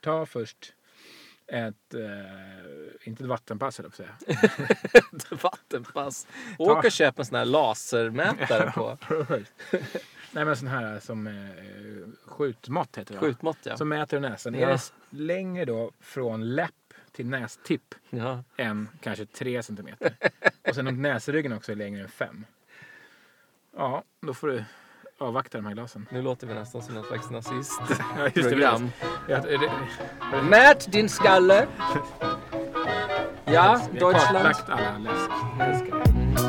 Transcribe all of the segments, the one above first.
ta först ett, eh, inte ett vattenpass höll jag på att säga. Ett vattenpass. Åk och köp en sån här lasermätare på Nej men sån här som eh, skjutmått heter det va? skjutmått. Ja. Som mäter näsan. Är Ja. det s- längre då från läpp till nästipp Ja. än kanske 3 centimeter. Och sen om näsryggen också är längre än 5. Ja, då får du avvakta de här glasen. Nu låter vi nästan som någon slags nazist. Ja, just Program. Ja, det- det- Mät din skalle! Ja, Vi har Deutschland. kartlagt alla läsk.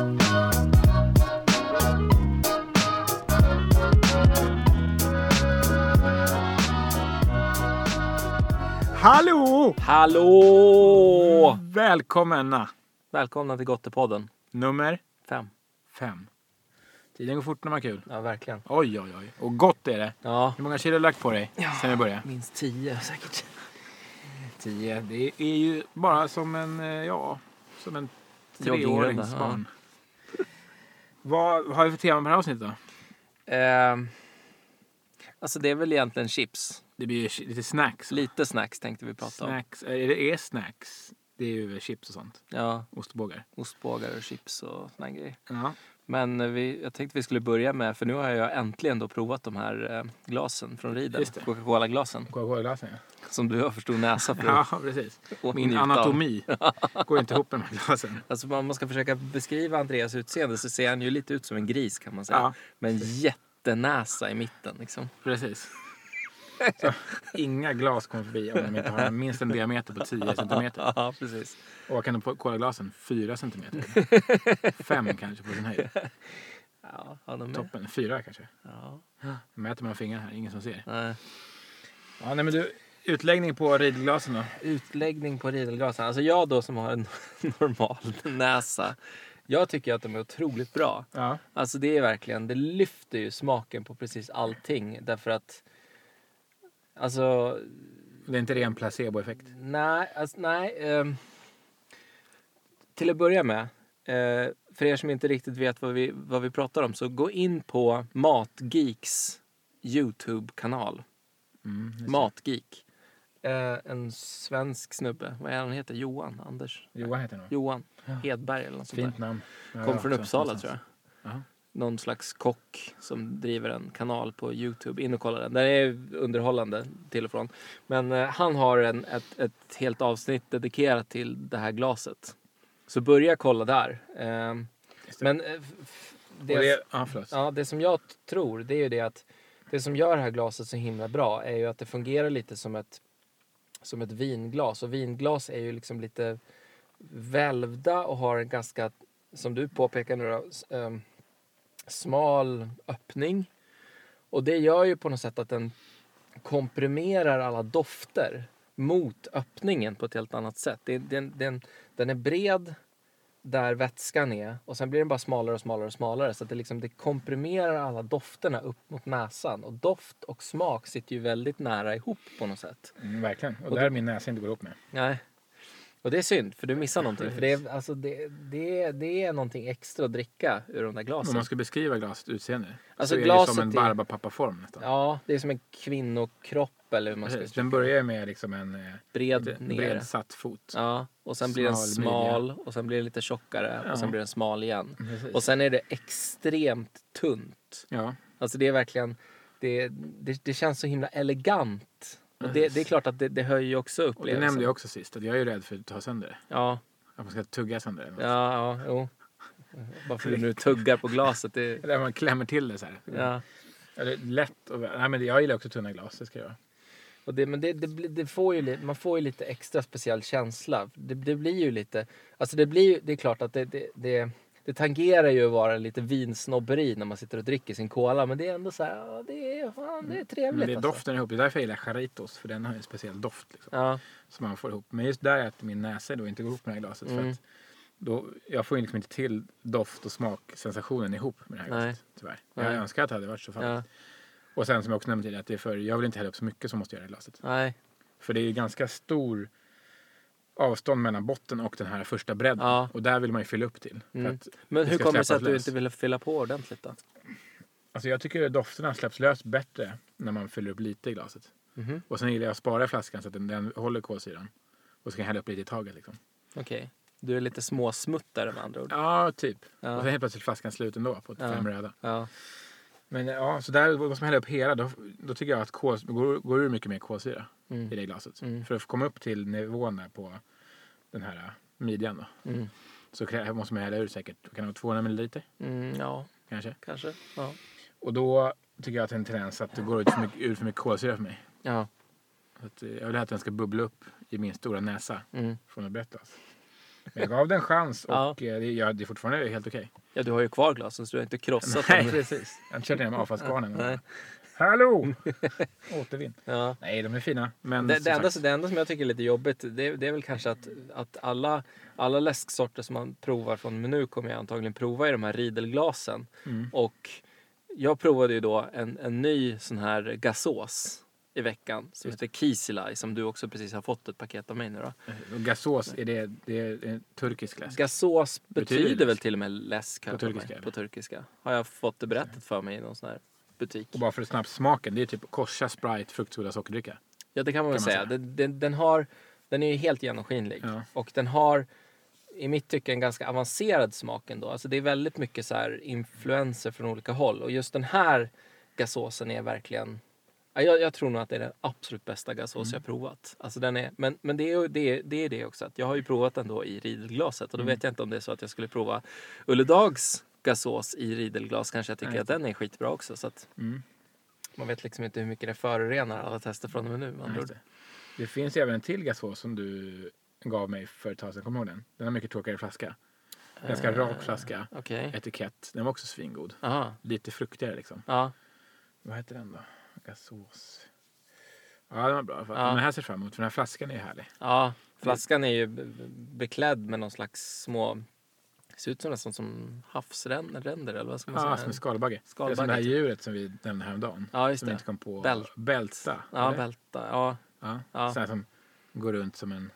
Hallå! Hallå! Välkomna! Välkomna till Gottepodden. Nummer Fem. fem. Tiden går fort när man har kul. Ja, verkligen. Oj, oj, oj. Och gott är det. Ja, Hur många kilo har du lagt på dig sen vi började? minst tio säkert. Tio. Det är ju bara som en, eh, ja, som en Joggingrunda, treåringsbarn. Vad vad har vi för tema på det här avsnittet då? Ehm, alltså det är väl egentligen chips. Det blir ju chi- lite snacks. va? Lite snacks tänkte vi prata om. snacks. Eller det är snacks. Det är ju chips och sånt. Ja, Ostbågar. ostbågar och chips och såna här grejer. Ja. Men eh, vi, jag tänkte vi skulle börja med, för nu har jag äntligen då provat de här eh, glasen från Riedel. Just det. Coca-Cola-glasen. Coca-Cola-glasen ja. Som du har för stor näsa för Ja, precis. att Min njuta av. anatomi går inte ihop med de här glasen. Alltså om man ska försöka beskriva Andreas utseende så ser han ju lite ut som en gris kan man säga. Ja. Med en jättenäsa i mitten liksom. Precis. Så, inga glas kommer förbi om de inte har minst en diameter på 10 centimeter. Ja, precis. Och vad kan de på Cola-glasen? 4 centimeter. 5 kanske på sin höjd. Ja, ja, de är... Toppen. 4 kanske. ja. Mäter man fingrar här, ingen som ser. Nej. Ja, nej, men du, utläggning på ridglasen då? Utläggning på ridelglasen. Alltså jag då som har en normal näsa. Jag tycker att de är otroligt bra. Ja. Alltså det är verkligen, det lyfter ju smaken på precis allting. Därför att, alltså Det är inte ren placeboeffekt. Nej, alltså, nej. ehm, till att börja med, eh, för er som inte riktigt vet vad vi, vad vi pratar om så gå in på Matgeeks Youtube-kanal. Mm, just det. Matgeek. Eh, en svensk snubbe. Vad är han heter? Johan? Anders? Johan heter han nog. Johan Hedberg eller något sånt Fint där. namn. Ja, Kom ja, från också, Uppsala någonstans. tror jag. Jaha. Någon slags kock som driver en kanal på Youtube. In och kolla den. Den är underhållande till och från. Men eh, han har en, ett, ett helt avsnitt dedikerat till det här glaset. Så börja kolla där. Eh, Just det. men eh, f- f- det, Och det, ja, förlåt. ja, det som jag t- tror det är ju det att det som gör det här glaset så himla bra är ju att det fungerar lite som ett, som ett vinglas. Och vinglas är ju liksom lite välvda och har en ganska, som du påpekar nu då, s- ehm, smal öppning. Och det gör ju på något sätt att den komprimerar alla dofter mot öppningen på ett helt annat sätt. Det, den, den, den är bred där vätskan är och sen blir den bara smalare och smalare och smalare så att det, liksom, det komprimerar alla dofterna upp mot näsan och doft och smak sitter ju väldigt nära ihop på något sätt. Mm, verkligen. Och Och där min näsa inte går ihop med. Nej. Och det är synd för du missar någonting för det är, alltså, det, det, det är någonting extra att dricka ur de där Om glasen. man ska beskriva glasets utseende Alltså, så är det glaset som en är- barbapappaform nästan. Ja, det är som en kvinnokropp eller hur man ska Precis. Den börjar med liksom en eh, bred nere. bred satt fot. Ja, och sen blir den Smal midja. smal och sen blir den lite tjockare Ja. och sen blir den smal igen. Mm, Precis. Och sen är det extremt tunt. Ja, Alltså det är verkligen, det, det, det känns så himla elegant. Och det, det är klart att det, det höjer ju också och det upplevelsen. nämnde jag också sist att jag är ju rädd för att ta sönder det. Ja, Att man ska tugga sönder det. ja, ja, jo. Bara för att du nu tuggar på glaset. Det, Eller man klämmer till det så här. ja. Eller lätt och väl. Nej, men jag gillar också tunna glas. Det ska jag göra. Och det, men det, det, blir- det får ju, li- man får ju lite extra speciell känsla. Det, det blir ju lite... Alltså det, blir, ju- det är klart att det, det, det, det tangerar ju att vara lite vinsnobberi när man sitter och dricker sin cola. Men det är ändå så här, ja, det är, fan, det är trevligt. Mm. Men det är alltså. doften ihop. Det är därför jag gillar charitos. För den har ju en speciell doft. Liksom, Ja, som man får ihop. Men just där är att min näsa då inte går ihop med det här glaset. För Mm. att då, jag får ju liksom inte till doft och smaksensationen ihop med det här Nej. glaset. Tyvärr. Jag Nej. önskar att det hade varit så. Fall. ja, Och sen som jag också nämnde tidigare. Att det är för, jag vill inte hälla upp så mycket som måste göra i glaset. nej. För det är ju ganska stor avstånd mellan botten och den här första bredden. Ja. Och där vill man ju fylla upp till. För Mm. att, Men det hur ska kommer det sig att släppas du lös. inte ville fylla på ordentligt då? alltså jag tycker dofterna släpps lös bättre när man fyller upp lite i glaset. Mhm. Och sen gillar jag att spara flaskan så att den, den håller kolsyran. Och så kan jag hälla upp lite i taget. Liksom. Okej. Du är lite småsmuttare med andra ord. Ja, typ. Ja. Och sen helt plötsligt är flaskan slut ändå på Ja. fem röda. Ja. Men ja, så där måste man hälla upp hela. Då, då tycker jag att kol, går, går ur mycket mer kolsyra i Mm. det glaset. Mm. För att komma upp till nivån där på den här eh, midjan då. Mm. Så krä- måste man hälla ur säkert kan det vara 200 milliliter Mm, ja, kanske. kanske. Ja. Och då tycker jag att det är en tendens att det går ut för mycket, ut för mycket kolsyra för mig. ja. Så att, eh, jag vill att den ska bubbla upp i min stora näsa Mm. från att berättas. Men jag gav den en chans och Ja. eh, det, ja, det är fortfarande helt okej. Ja, du har ju kvar glasen så du har inte krossat Nej, dem. precis. Jag har inte kört ner med avfallskvarnen. Nej. Hallå! Återvinn. Ja. Nej, de är fina. Men Det, som det, enda, sagt, det enda som jag tycker är lite jobbigt det, det är väl kanske att, att alla, alla läsksorter som man provar från meny kommer jag antagligen prova i de här ridelglasen. Mm. Och jag provade ju då en, en ny sån här gasås i veckan Mm. som heter Kisilaj som du också precis har fått ett paket av mig nu då. och gasås, är det, det är en turkisk läsk? Gasås Betyder betyder, väl läsk. till och med läsk har På jag för mig. turkiska, eller? på turkiska. Har jag fått det berättat för mig i någon sån här butik. Och bara för snabbt smaken, det är typ korsa, Sprite, fruktsoda, sockerdricka. Ja, det kan man väl Kan man säga. säga. Den, den, den, har, den är ju helt genomskinlig. Ja. Och den har i mitt tycke en ganska avancerad smak ändå. Alltså det är väldigt mycket så här influenser från olika håll. Och just den här gasåsen är verkligen... Ja, Jag, jag tror nog att det är den absolut bästa gasås Mm. jag provat. Alltså den är, men men det, är, ju- det, är, det är det också. Att jag har ju provat den då i ridelglaset. Och Mm. då vet jag inte om det är så att jag skulle prova Ulle Dags gasås i ridelglas. Kanske jag tycker Nej. att den är skitbra också. Så att Mm. man vet liksom inte hur mycket det förorenar alla tester från och med nu. med andra Ja, ord. just det. det finns ju även en till gasås som du gav mig för ett tag sedan. Kommer du ihåg den? Den har mycket tråkigare flaska. Ganska Eh, rak flaska. Okej. Etikett. Den var också svingod. Aha. Lite fruktigare liksom. Ja. Vad heter den då? Gasås. Ja, den var bra. Ja. Men den här ser jag fram emot för den här flaskan är ju härlig. ja. Flaskan är ju be- be- beklädd med någon slags små... Ser ut som nästan som havsränder ränder, eller vad ska man Ja, som säga? en skalbagge. Det är som Skalbagge, det här typ. djuret som vi nämnde häromdagen. Ja, just som vi det. inte kom på. Bält. Bälta. Ja, eller? bälta. Ja. Ja. Ja. Sån här som går runt som en...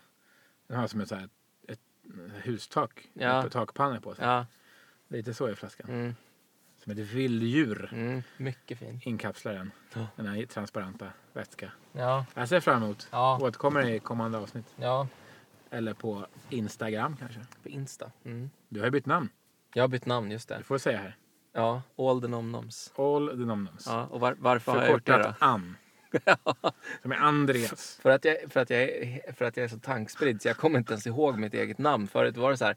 Den har som ett, så här, ett hustak. Ja. Ett takpanna på sig. ja. Lite så är flaskan. Mm. Som ett vilddjur Mm. Mycket fin. inkapslar den. Ja. Den här transparenta vätska. Ja. Jag ser fram emot. Ja. Återkommer i kommande avsnitt. Ja. Eller på Instagram kanske. På Insta. Mm. Du har ju bytt namn. Jag har bytt namn, just Du det. får säga här. Ja. All the nomnoms. All the nomnoms. Ja. Och var, varför har jag gjort det då? Förkortat Ann. Som är Andreas. För att, jag, för, att jag, är- för att jag är så tankspridd så jag kommer inte ens ihåg mitt eget namn. Förut var det så här,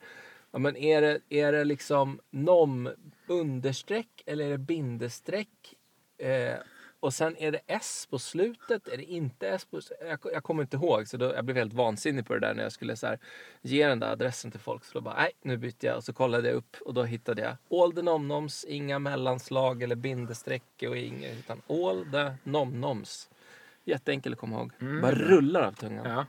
ja, men är det, är det liksom nom understreck eller är det bindestreck? Eh, och sen är det s på slutet, är det inte s på jag, jag kommer inte ihåg. Så då, jag blev helt vansinnig på det där när jag skulle så här, ge den där adressen till folk. Så då bara, nej nu bytte jag. Och så kollade jag upp och då hittade jag all the nomnoms, inga mellanslag eller bindestreck och inget. Utan all the nomnoms. Jätteenkel att komma ihåg. Mm. Bara rullar av tungan. Ja.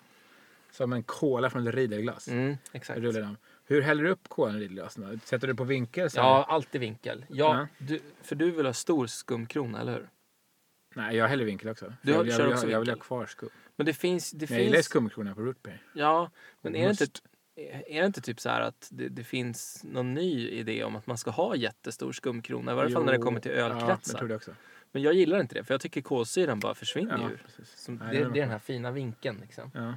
Som en kola från ett ridelglas. Mm, exakt. Rullar den. Hur häller du upp kolan i ridelglasen? då? Sätter du på vinkel? Så här? Ja, alltid vinkel. Ja, Ja. Du, för du vill ha stor skumkrona, eller hur? Nej, jag häller vinkel också. Du jag, vill- kör jag, vill- också jag vill ha vinkel. kvar skum. Men det finns... Det Men jag gillar ju finns skumkrona på root beer. ja, men är det, inte, Must. är det inte typ så här att det, det finns någon ny idé om att man ska ha jättestor skumkrona? I varje fall när det Jo, kommer till Ja, jag ölkretsar. tror det också. Men jag gillar inte det, för jag tycker kolsyran bara försvinner Ja, ur. precis. Som, Nej, det, den är det är bra. den här fina vinkeln liksom. Ja.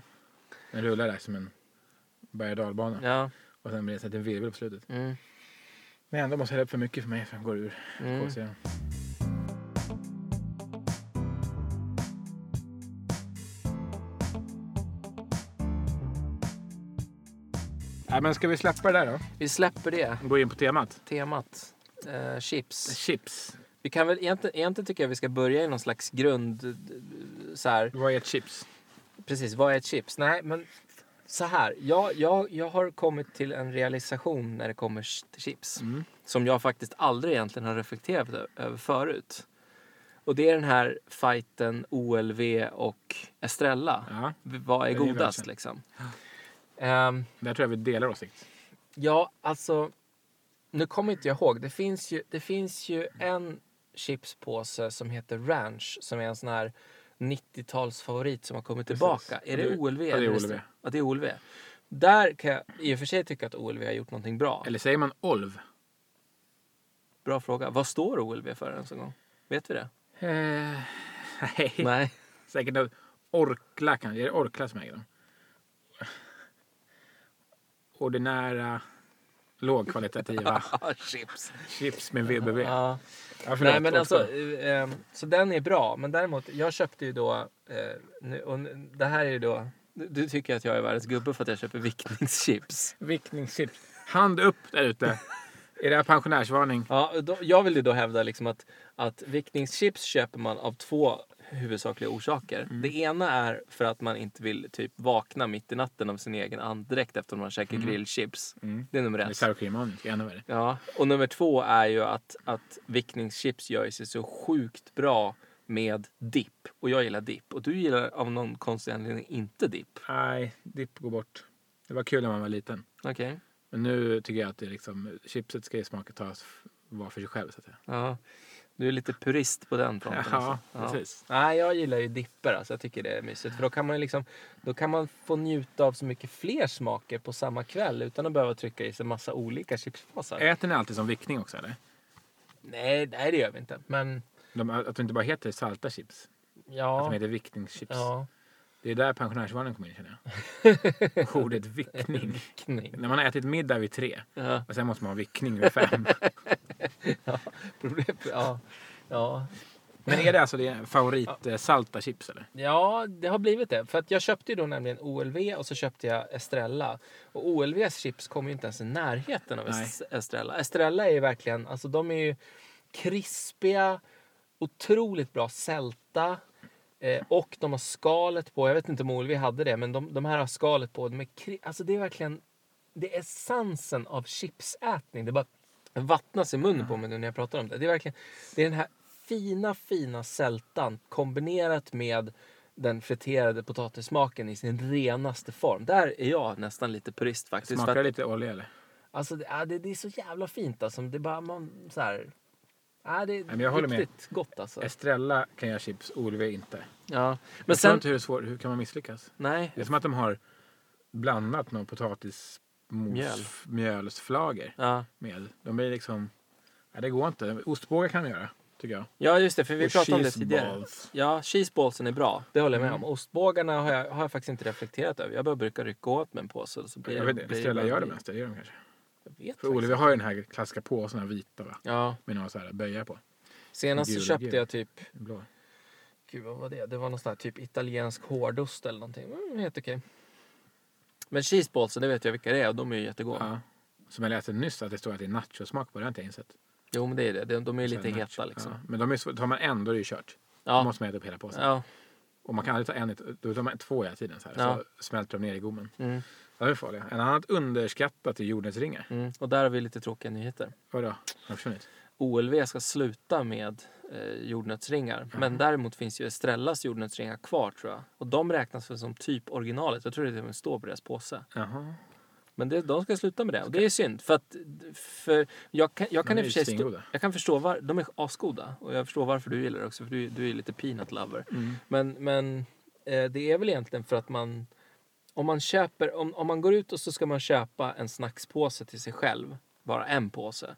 Den rullar där som en berg och dalbana. Ja. Och sen blir det så att en virvel på slutet. Mm. Men ändå måste jag hälla upp för mycket för mig för den går ur Mm. kolsyran. Nej, men ska vi släppa det där Vi släpper det då? Gå in på temat. temat. Eh, chips. Chips. Vi kan väl egentligen, egentligen tycker jag vi ska börja i någon slags grund... eh, Så här, Vad är ett chips? Precis, vad är ett chips? Nej, men så här. Jag, jag, jag har kommit till en realisation när det kommer ch- till chips. Mm. Som jag faktiskt aldrig egentligen har reflekterat ö- över förut. Och det är den här fighten OLV och Estrella. Ja, V- Vad är Den är ju godast välkänd. liksom? Ehm, där tror jag vi delar åsikt. ja, alltså. Nu kommer inte jag ihåg. Det finns ju, det finns ju en chipspåse som heter Ranch. Som är en sån här 90-talsfavorit som har kommit Precis. tillbaka. Är det Det- OLV? ja, det är eller OLV. Ja, det är OLV. Där kan jag i och för sig tycka att OLV har gjort någonting bra. Eller säger man olv? Bra fråga. Vad står OLV för ens en gång? Vet vi det? Eh, nej, Nej. Säkert något Orkla kanske. Är det Orkla som äger dem? Ordinära lågkvalitativa Chips. chips med VBB. Ja. Ja, förlåt, Nej, men Orkla. alltså, eh, eh, så den är bra. Men däremot, jag köpte ju då... Eh, nu, och nu- det här är ju då... Du, du tycker att jag är världens gubbe för att jag köper viktningschips. Vickningschips. Hand upp där ute. Är det här pensionärsvarning? Ja, då, jag vill ju då hävda liksom att, att viktningschips köper man av två huvudsakliga orsaker. Det ena är för att man inte vill typ vakna mitt i natten av sin egen andedräkt efter att man käkar grillchips. Mm. Det är nummer Det är ett. sour cream onion, det är ännu värre. Ja, och nummer två är ju att, att vickningschips gör sig så sjukt bra med dipp. Och jag gillar dipp. Och du gillar av någon konstig anledning inte dipp. Nej, dipp går bort. Det var kul när man var liten. Okej. Men nu tycker jag att det är liksom, chipset ska ju smaka tas var för sig själv. Så att säga. Ja. Du är lite purist på den fronten. Ja, alltså. precis. Nej, jag gillar ju dipper. Alltså. Jag tycker det är mysigt. För då kan, man ju liksom, då kan man få njuta av så mycket fler smaker på samma kväll utan att behöva trycka i sig massa olika chipspåsar. Äter ni alltid som vickning också eller? Nej, nej, det gör vi inte. Men De, att de inte bara heter salta chips. Att de ja... heter vickningschips. ja. Det är där pensionärsvarningen kommer in känner jag. Ordet vickning. Kning. När man har ätit middag vid tre Ja. och sen måste man ha vickning vid fem. Problem- Ja. Ja. Men är det alltså din favorit eh, salta chips eller? Ja, det har blivit det. För att jag köpte ju då nämligen OLV och så köpte jag Estrella. Och OLVs chips kommer ju inte ens i närheten av Nej. Es- Estrella. Estrella är ju verkligen, alltså de är ju krispiga, otroligt bra sälta. Eh, och de har skalet på. Jag vet inte om OLV hade det, men de, de här har skalet på. De är kri- alltså det är verkligen, det är essensen av chipsätning. Det bara vattnas i munnen på mig nu när jag pratar om det. Det är verkligen, det är den här fina, fina sältan kombinerat med den friterade potatissmaken i sin renaste form. Där är jag nästan lite purist faktiskt. Smakar för det att, lite olja eller? alltså, det, ja, det, det är så jävla fint alltså. Det är bara man så här... Ja, det är men jag håller med. riktigt gott alltså. Estrella kan göra chips, OLW inte. Ja. Men Men sen... sen... inte hur, det är svårt, hur kan man misslyckas? Nej. Det är som att de har blandat någon potatismjölsflagor Ja. med. De blir liksom... Nej, det går inte. Ostbågar kan de göra, tycker jag. ja, just det. För vi Och pratade om det cheese tidigare. balls. Mm. Ja, cheeseballsen är bra. Det håller jag med om. Ostbågarna har jag, har jag faktiskt inte reflekterat över. Jag bara brukar rycka åt mig en påse. och Så blir, Jag vet inte, blir Estrella bara- gör det mesta. Det gör de kanske. Jag vet För faktiskt Oliver har ju den här klassiska påsen, den här vita va? Ja, Med några så här böjar på. senast så Gula, köpte gula. jag typ, Den Blå. gud vad var det? Det var någon sån här typ italiensk hårdost eller någonting. Mm, helt okej. Men cheeseballsen, det vet jag vilka det är och de är ju jättegoda. Ja. Som jag läste nyss att det står att det är nachosmak på. Det har jag inte insett. Jo men det är det, de, de är ju lite Nacho. heta liksom. Ja. Men de är, så- tar man en då är det ju kört. Då Ja. måste man äta upp hela påsen. ja. Och man kan aldrig ta en, i- då tar man två hela tiden så här. Ja. Så smälter de ner i gommen. Mm. Ja, det är farliga. En annan underskattat är jordens ringar. Mm. Och där har vi lite tråkiga nyheter. Vadå? Har de försvunnit? OLV ska sluta med eh, jordnötsringar. Mhm. Men däremot finns ju Estrellas jordnötsringar kvar tror jag. Och de räknas väl som typ originalet. Jag tror det till och med står på deras påse. Jaha. Men det, de ska sluta med det. Och det är synd. För att, för jag kan, jag kan De i är och för ju sig... Stå, svingoda. jag kan förstå var, de är asgoda. Och jag förstår varför du gillar det också. För du, du är lite peanut lover. Men, men eh, det är väl egentligen för att man... Om man köper... Om, om man går ut och så ska man köpa en snackspåse till sig själv. Bara en påse.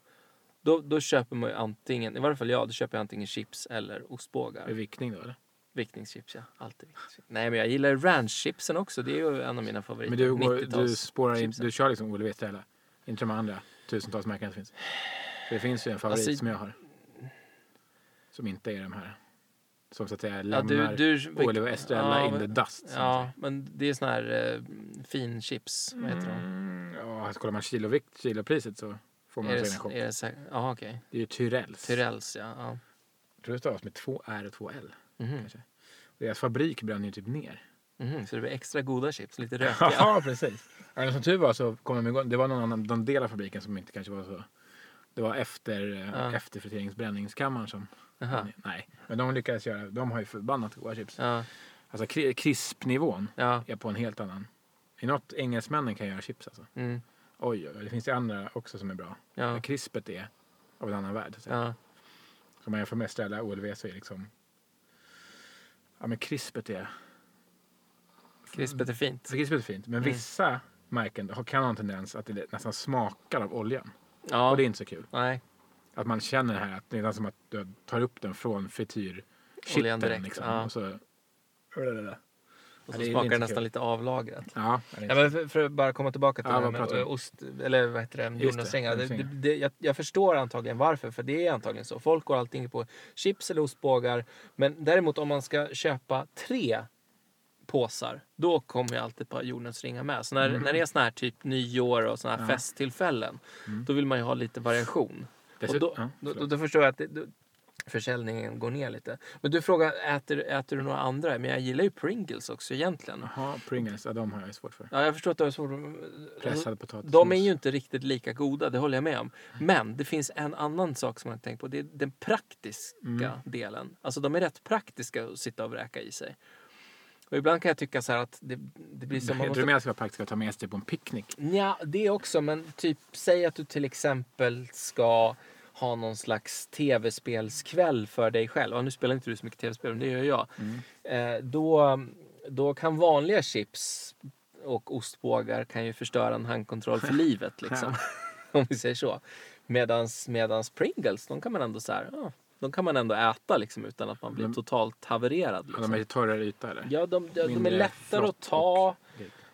Då, då köper man ju antingen, i varje fall jag, då köper jag antingen chips eller ostbågar. Med vickning då eller? Viktningschips ja, alltid viktningschips. Nej men jag gillar ranchchipsen också, det är ju en av mina favoriter. Men du, går, du 90-tals spårar in, chipsen. du kör liksom Olle Estrella. Inte de andra tusentals märkena som finns. För det finns ju en favorit Alltså- som jag har. Som inte är de här. Som så att säga Ja, lämnar du, du, Olle och Estrella Ja, in men- the dust. som man Ja, men det är sån här eh, fin chips. Vad heter säger. de? Mm, ja, kollar man kilovikt, kilopriset så får man Är en chock. det, är det så här, aha, okej. Det är ju Tyrells. Tyrells, ja. ja. Jag tror det stavas med två R och två L. Mhm, Kanske. Deras fabrik brann ju typ ner. mhm, Så det blir extra goda chips, lite rökiga. Ja, precis. Ja, men som tur var så kom de igång. Det var någon annan någon del av fabriken som inte kanske var så. Det var efter, Ja. ja. efter friteringsbränningskammaren som... Aha. Nej, men de lyckades göra... De har ju förbannat goda chips. Ja, Alltså kri- krispnivån ja. är på en helt annan. I något engelsmännen kan göra chips alltså. Mm, Oj, oj, oj. Det finns ju andra också som är bra. ja. Men krispet är av en annan värld. Så. Ja, Om man jämför med Estrella OLV så är liksom... Ja, men krispet är... krispet är fint. Så krispet är fint, men Mm. vissa märken har- kan ha en tendens att det nästan smakar av oljan. Ja, Och det är inte så kul. nej. Att man känner det här att det är nästan som att du tar upp den från Oljan frityrkitten. direkt, Liksom. ja. Och så Blablabla. Och Ja, så det är smakar inte det nästan kul. lite avlagrat. liksom. Ja, det är Ja, men för, för att bara komma tillbaka till Ja, det vad här med eh, pratar vi om? ost, eller vad heter det, det, jordnötssängar. Det, det, jordnötssängar. det, jag, jag förstår antagligen varför, för det är antagligen så. Folk går allting på chips eller ostbågar. Men däremot om man ska köpa tre påsar, då kommer ju alltid ett par jordnötsringar med. Så när, när det är såna här typ nyår och såna här Ja. festtillfällen, då vill man ju ha lite variation. Och Dessut- då, ja, då, då, förlåt. då förstår jag att det, då, försäljningen går ner lite. Men du frågar, äter, äter du några andra? Men jag gillar ju Pringles också egentligen. Jaha, Pringles. Ja, de har jag svårt för. Ja, jag förstår att du har svårt med- Pressad potatis. Mm. De är ju inte riktigt lika goda, det håller jag med om. Men det finns en annan sak som man inte tänkt på. Det är den praktiska Mm. delen. Alltså de är rätt praktiska att sitta och vräka i sig. Och ibland kan jag tycka så här att det, det blir som... Jag tror mer att det ska vara praktiskt att ta med sig på en picknick. Ja, det också. Men typ, säg att du till exempel ska ha någon slags tv-spelskväll för dig själv. Ja, nu spelar inte du så mycket tv-spel, men det gör jag. Mm. Eh, då, då kan vanliga chips och ostbågar kan ju förstöra en handkontroll för livet. Liksom, om vi säger så. Medans, medans Pringles, de kan man ändå så här, ja, de kan man ändå äta liksom, utan att man blir Men- totalt havererad. Ja, de är Liksom. lite torrare yta eller? Ja, de, de, de är mindre lättare att flott och- ta.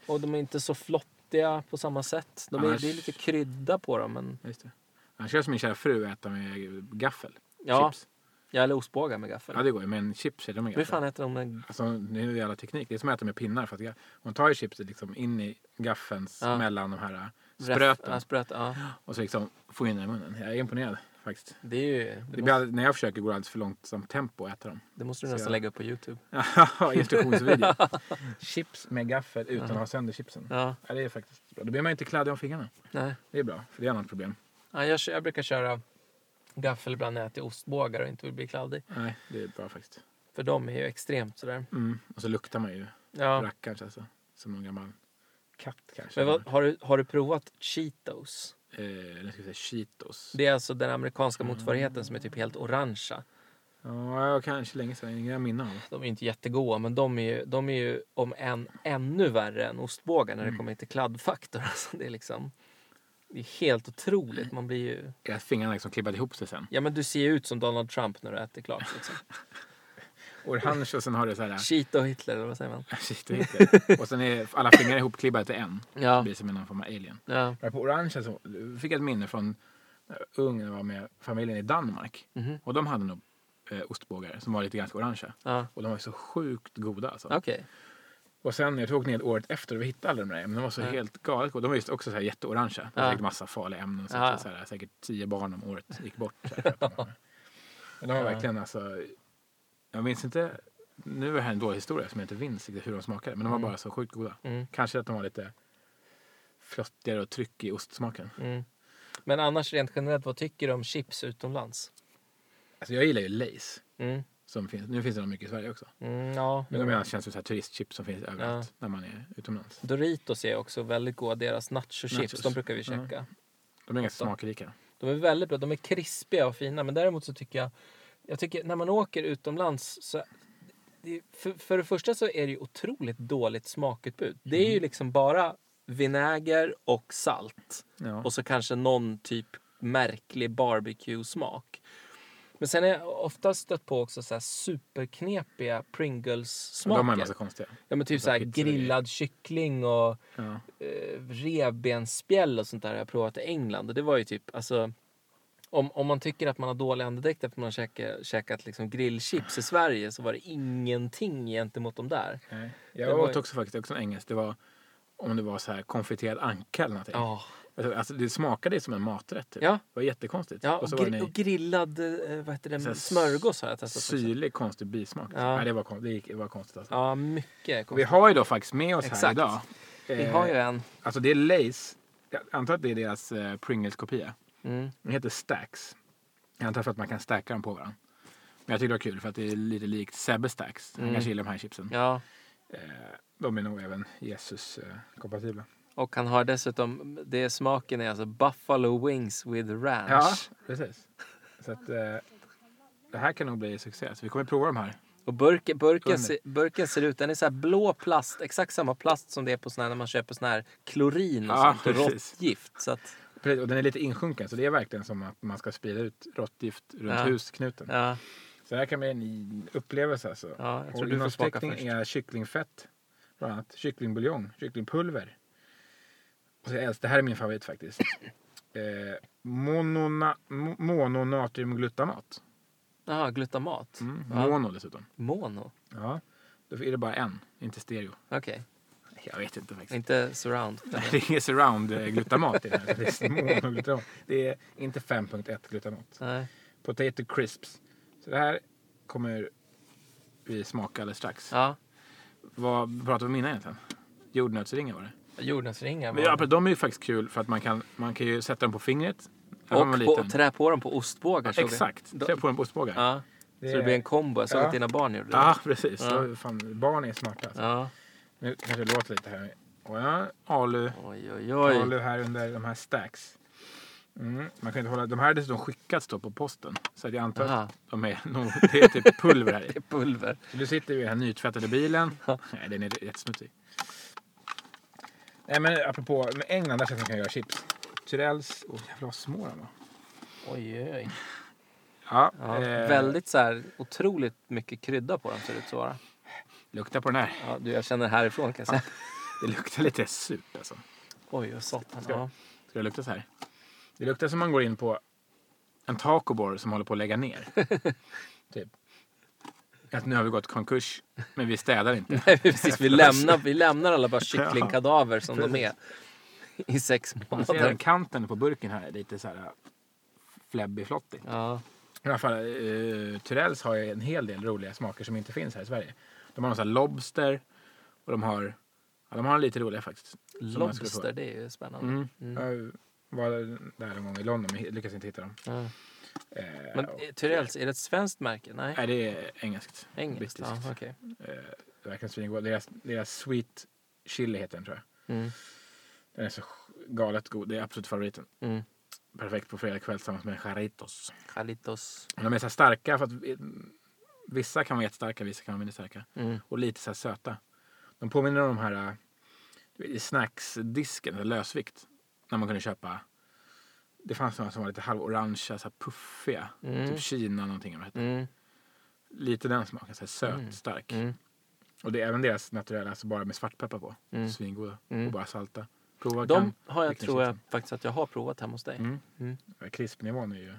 Och de är inte så flottiga på samma sätt. De är, Annars- Det är lite krydda på dem. Men, Just det. Annars ska som min kära fru äta med gaffel. ja, Chips. jag eller ostbågar med gaffel. Ja, det går ju. Men chips är de med Hur gaffel. fan äter de den? Alltså, nu är alla teknik. Det är som att äta med pinnar. För att ga- hon tar ju chipset liksom in i gaffelns Ja. alltså. mellan de här äh, Räff- spröten. Ja, spröt, ja. Och så liksom får in den i munnen. Jag är imponerad faktiskt. Det, är ju, det, Det blir, måste, alldeles- när jag försöker går det alldeles för långsamt tempo att äta dem. det måste du så nästan jag- lägga upp på Youtube. Haha, Instruktionsvideo. Chips med gaffel utan att ha sönder chipsen. Ja, Ja, det är faktiskt bra. Då blir man ju inte kladdig om fingrarna. nej. Det är bra, för det är ett annat problem. Ja, jag, kö- jag brukar köra gaffel ibland när jag äter ostbågar och inte vill bli kladdig. Nej, det är bra faktiskt. För de är ju extremt sådär. Mm. Och så luktar man ju Ja. rackarns alltså. Som en gammal katt kanske. Men vad, har, du, har du provat Cheetos? Eh, eller ska vi säga Cheetos. Det är alltså den amerikanska motsvarigheten som är typ helt orangea. Ja, jag kanske länge sedan. Inga minnen av. De är ju inte jättegoda, men de är ju, de är ju om än ännu värre än ostbågar när det Mm. kommer till kladdfaktor. Alltså, det, är liksom, det är helt otroligt. Man blir ju... Era fingrarna liksom klibbade ihop sig sen. Ja, men du ser ju ut som Donald Trump när du äter klart. Liksom. Orange och sen har det så här... eh, Cheat och Hitler, eller vad säger man? Shit, vad heter det? och sen är alla fingrar ihopklibbade till en. Det Ja. blir som en form av alien. ja. Jag på orange så fick jag ett minne från eh, ung när jag var med familjen i Danmark. Mhm. Och de hade nog eh, ostbågar som var lite ganska orangea. ja. Och de var så sjukt goda alltså. Okej. Och sen, jag tog ner året efter och vi hittade alla de där. Men de var så Ja. helt galet goda. De var just också så här jätteorangea. Det var Ja. säkert massa farliga ämnen. Så, Ja. så här, säkert tio barn om året gick bort. Så här, för att de- men de var Ja. verkligen alltså. Jag minns inte. Nu är det här en dålig historia som jag inte minns riktigt hur de smakade. Men de var Mm. bara så sjukt goda. Mm. Kanske att de var lite flottigare och tryck i ostsmaken. Mm. Men annars rent generellt, vad tycker du om chips utomlands? Alltså jag gillar ju Lays. Mm. Som finns, nu finns det de mycket i Sverige också. Mm, ja. Men de menar, känns som så här turistchips som finns överallt när man är utomlands. Doritos är också väldigt goda. Deras nachochips, Nachos. de brukar vi Ja. käka. De är ganska Ofta. smakrika. De är väldigt bra. De är krispiga och fina. Men däremot så tycker jag... Jag tycker när man åker utomlands så... Det, för, för det första så är det ju otroligt dåligt smakutbud. Det är ju Mm. liksom bara vinäger och salt. Ja. Och så kanske någon typ märklig barbecue-smak. Men sen har jag ofta stött på också så här superknepiga Men de har en Pringles-smaker. massa konstiga. Ja men typ massa så här pizzor i. grillad kyckling och Ja. eh, revbensspjäll och sånt där har jag provat i England. Och det var ju typ, alltså, om, om man tycker att man har dålig andedräkt efter man har käkat, käkat liksom grillchips i Sverige så var det ingenting gentemot de där. Nej. Det Jag var- åt också faktiskt också en engelsk. Det var om det var så här konfiterad anka eller någonting. Ja, Alltså, Alltså, det smakade som en maträtt. Typ. Ja. Det var jättekonstigt. ja och, och så var gri- det och en grillad eh, vad heter Så här det, smörgås har jag testat. också. syrlig konstig bismak. Alltså, alltså. Ja. Nej, det, var, kon- det, gick, det var konstigt. Alltså. Ja, mycket Vi konstigt. har ju då faktiskt med oss här Exakt. idag. Vi eh, har ju en. Alltså det är Lays. Jag antar att det är deras eh, Pringles-kopia. Mm. Den heter Stacks. Jag antar för att man kan stacka dem på varandra. Men jag tycker det var kul för att det är lite likt Sebbe Stacks. Han Mm. kanske gillar de här chipsen. Ja. Eh, de är nog även Jesus-kompatibla. Och han har dessutom, det smaken är alltså Buffalo Wings with Ranch. ja, precis. Så att, eh, det här kan nog bli succé. Så vi kommer prova de här. Och burken, burken, Under. se, burken ser ut, den är så här blå plast, exakt samma plast som det är på såna här, när man köper sån här klorin och Ja, sånt och precis. råttgift. Så att, Precis, och den är lite insjunken så det är verkligen som att man ska sprida ut råttgift runt Ja. husknuten. ja. Så Så det här kan bli en upplevelse alltså. Ja, jag tror du får smaka Originalsteckning först. är kycklingfett, bland annat kycklingbuljong, kycklingpulver. Och så jag älskar, det här är min favorit faktiskt. eh, monona, mo- mononatriumglutamat. Jaha, glutamat. Mm. Ja. Mono dessutom. Mono? Ja. Då är det bara en, inte stereo. Okej, Jag vet inte faktiskt. inte surround. Nej, det är inget surround-glutamat i den här. Det är monogluttamat. Det är inte 5.1-glutamat. Nej. Potato crisps. Så det här kommer vi smaka alldeles strax. Ja, Vad pratar vi om innan egentligen? Jordnötsringar var det. jordnötsringar. Men var- ja, men de är ju faktiskt kul för att man kan, man kan ju sätta dem på fingret. när man var och på, liten. trä på dem på ostbågar. såg jag. Exakt, Då- trä på dem på ostbågar. Ja, Ja. Det Så det är- blir en kombo. Jag såg Ja. att dina barn gjorde det. precis. Ja. Så, fan, barn är smarta. Alltså. Ja. Nu kanske det låter lite här. Och ja, alu. Oj, oj, oj. alu här under de här stacks. Mm. Man kan inte hålla, de här har dessutom skickats då på posten. Så att jag antar Aha. att de är, nog- det är typ pulver här Det i. är pulver. Så du sitter i den här nytvättade bilen. Nej, den är jättesmutsig. Nej men apropå med England, där känns det som man kan göra chips. Tyrells, åh jävlar vad små de var. Oj, oj, oj. Ja, Ja, eh, Väldigt så här otroligt mycket krydda på dem ser det ut så vara. Lukta på den här. Ja, du, jag känner det härifrån kan jag säga. Det luktar lite surt alltså. Oj, vad satan. Ska- Ja. Ska det lukta så här? Det luktar som man går in på en tacobar som håller på att lägga ner. typ. Att nu har vi gått konkurs, men vi städar inte. Nej, precis. Vi lämnar, vi lämnar alla bara kycklingkadaver som de är. precis. I sex Man ser den månader. kanten på burken här, lite så här fläbbig flottig. Ja, I alla fall, eh, Tyrells har ju en hel del roliga smaker som inte finns här i Sverige. De har någon sån här lobster och de har, ja, de har lite roliga faktiskt. som jag skulle lobster, det är ju få. spännande. Mm. Mm. Jag var där en gång i London men lyckades inte hitta dem. Ja. Eh, Men och- eh, Tyrells, är det ett svenskt märke? Nej, Nej, det är engelskt. engelskt. brittiskt. Ja, okej. Eh, det verkar svingod. Deras, deras sweet chili heter den tror jag. Mm, Den är så galet god. Det är absolut favoriten. mm. Perfekt på fredagkväll tillsammans med jarritos. Jalitos. Men De är så här starka för att vi- vissa kan vara jättestarka, vissa kan vara mindre starka. Mm. Och lite så här söta. De påminner om de här eh, du vet, i snacksdisken, eller lösvikt. När man kunde köpa. Det fanns några som var lite halvorangea, så här puffiga. Mm. Typ Kina någonting. vad det hette. Mm, Lite den smaken, så här söt, Mm. stark. mm, Och det är även deras naturella, alltså bara med svartpeppar på. mm. Svingoda. Mm. Och bara salta. Prova De har jag, vilken tror jag chipsen. faktiskt att jag har provat hemma hos dig. kan. Mm. Mm. Krispnivån är ju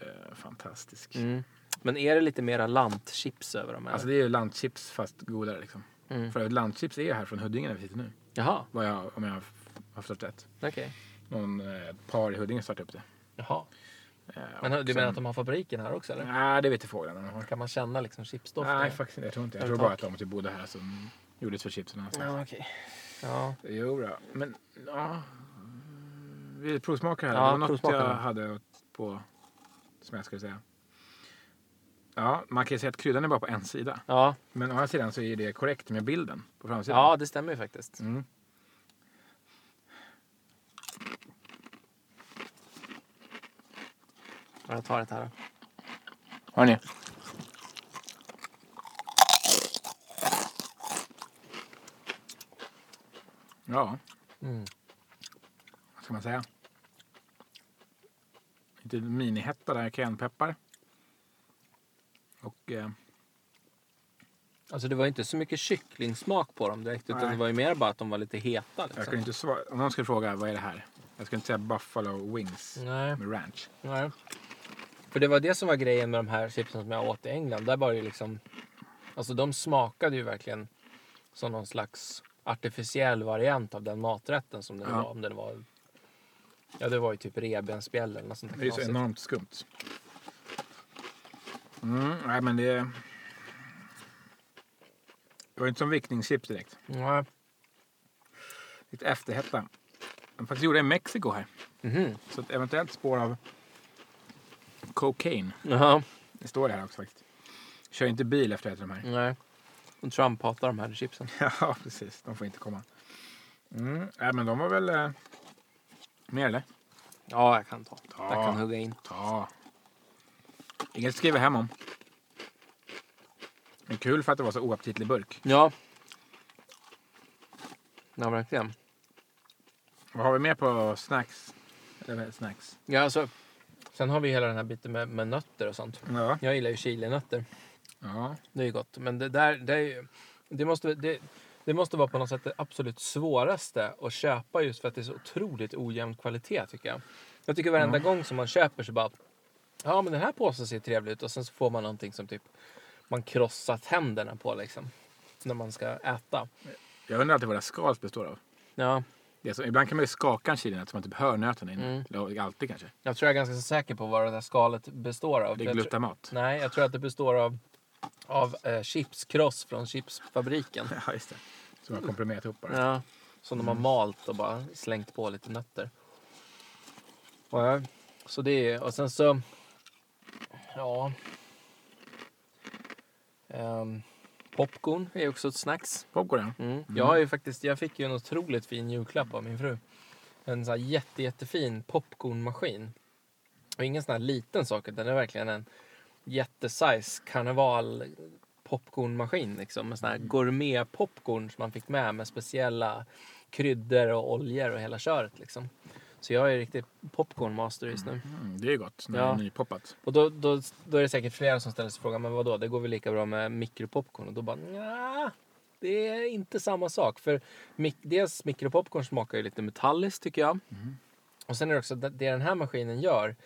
eh, fantastisk. Mm. Men är det lite mera lantchips över dem? eller? Alltså det är ju lantchips fast godare liksom. mm. För lantchips är ju här från Huddinge där vi sitter nu. Jaha, Vad jag, om jag har förstått rätt. okej. Någon eh, par i Huddinge startade upp det. Jaha. Eh, Men och du sen- menar att de har fabriken här också eller? Nej, det vet ju fåglarna om de har. Kan man känna liksom chipsdoften? Nej, faktiskt inte. Jag tror inte. Jag Över tror bara att tak. de typ bodde här som gjordes för chipsen någonstans. Ja, okej. Ja. Jo då. men ja. Vi provsmakar här. Ja, det var något provsmakar jag då. hade på, som jag skulle säga. Ja, man kan ju säga att kryddan är bara på en sida. Ja. Men å andra sidan så är det korrekt med bilden på framsidan. ja, det stämmer ju faktiskt. Mm. Ja, Jag tar det här. då. Hörni. Ja, Mm. vad ska man säga? Lite minihetta där, cayennepeppar. Och eh, Alltså det var ju inte så mycket kycklingsmak på dem direkt utan Nej. det var ju mer bara att de var lite heta. jag skulle Liksom. inte svara, om någon skulle fråga vad är det här? Jag skulle inte säga Buffalo Wings Nej. med ranch. Nej. För det var det som var grejen med de här chipsen som jag åt i England. Där var det ju liksom... Alltså de smakade ju verkligen som någon slags artificiell variant av den maträtten som den Ja. var. Om den var... Ja, det var ju typ revbensspjäll eller något sånt där Men det är så knasigt. enormt skumt. Mm, nej men det... Det var inte som vickningschips direkt. Nej. Lite efterhetta. De faktiskt gjorde det i Mexiko här. Mhm. Så ett eventuellt spår av cocaine. Jaha. Det står det här också faktiskt. Kör inte bil efter att äta de här. Nej. Och Trump hatar de här chipsen. Ja, precis. De får inte komma. Mm, nej men de var väl... Eh, mer eller? Ja, jag kan ta. Jag kan Ja. hugga in. Ja. Inget att skriva hem om. Men kul för att det var så oaptitlig burk. Ja. Ja, verkligen. Vad har vi mer på snacks? Eller vad är det, snacks? Ja, alltså, Sen har vi hela den här biten med, med nötter och sånt. Ja. Jag gillar ju chilinötter. ja. Det är ju gott. Men det där, det är ju... Det måste, det, det måste vara på något sätt det absolut svåraste att köpa just för att det är så otroligt ojämn kvalitet tycker jag. Jag tycker varenda gång som man köper så bara... Ja men den här påsen ser trevlig ut och sen så får man någonting som typ man krossar tänderna på liksom. När man ska äta. Jag undrar alltid vad det här skalet består av. Ja, Det är så, ibland kan man ju skaka en chilinöt så man typ hör nöterna inne. Mm. Eller alltid kanske. jag tror jag är ganska säker på vad det här skalet består av. Det Jag är tror- glutamat. Nej, jag tror att det består av, av eh, chipskross från chipsfabriken. Ja, just det. Som har komprimerat ihop bara. Mm. Ja. Som de har malt och bara slängt på lite nötter. Ja. Så det är, och sen så... Ja. Ehm, popcorn är också ett snacks. Popcorn ja. Mm. Jag, har ju faktiskt, jag fick ju en otroligt fin julklapp av min fru. En sån här jätte, jättefin popcornmaskin. Och ingen sån här liten sak, utan det är verkligen en jättesize karneval popcornmaskin. Liksom, med sån här gourmet-popcorn som man fick med med speciella kryddor och oljor och hela köret. Liksom. Så jag är ju riktigt popcornmaster just nu. Mm, det är gott när Ja. det är nypoppat. Och då, då, då är det säkert flera som ställer sig frågan, men vadå, det går väl lika bra med mikropopcorn? Och då bara, nja, det är inte samma sak. För mik- dels mikropopcorn smakar ju lite metalliskt tycker jag. Och sen är det också, det det den här maskinen gör,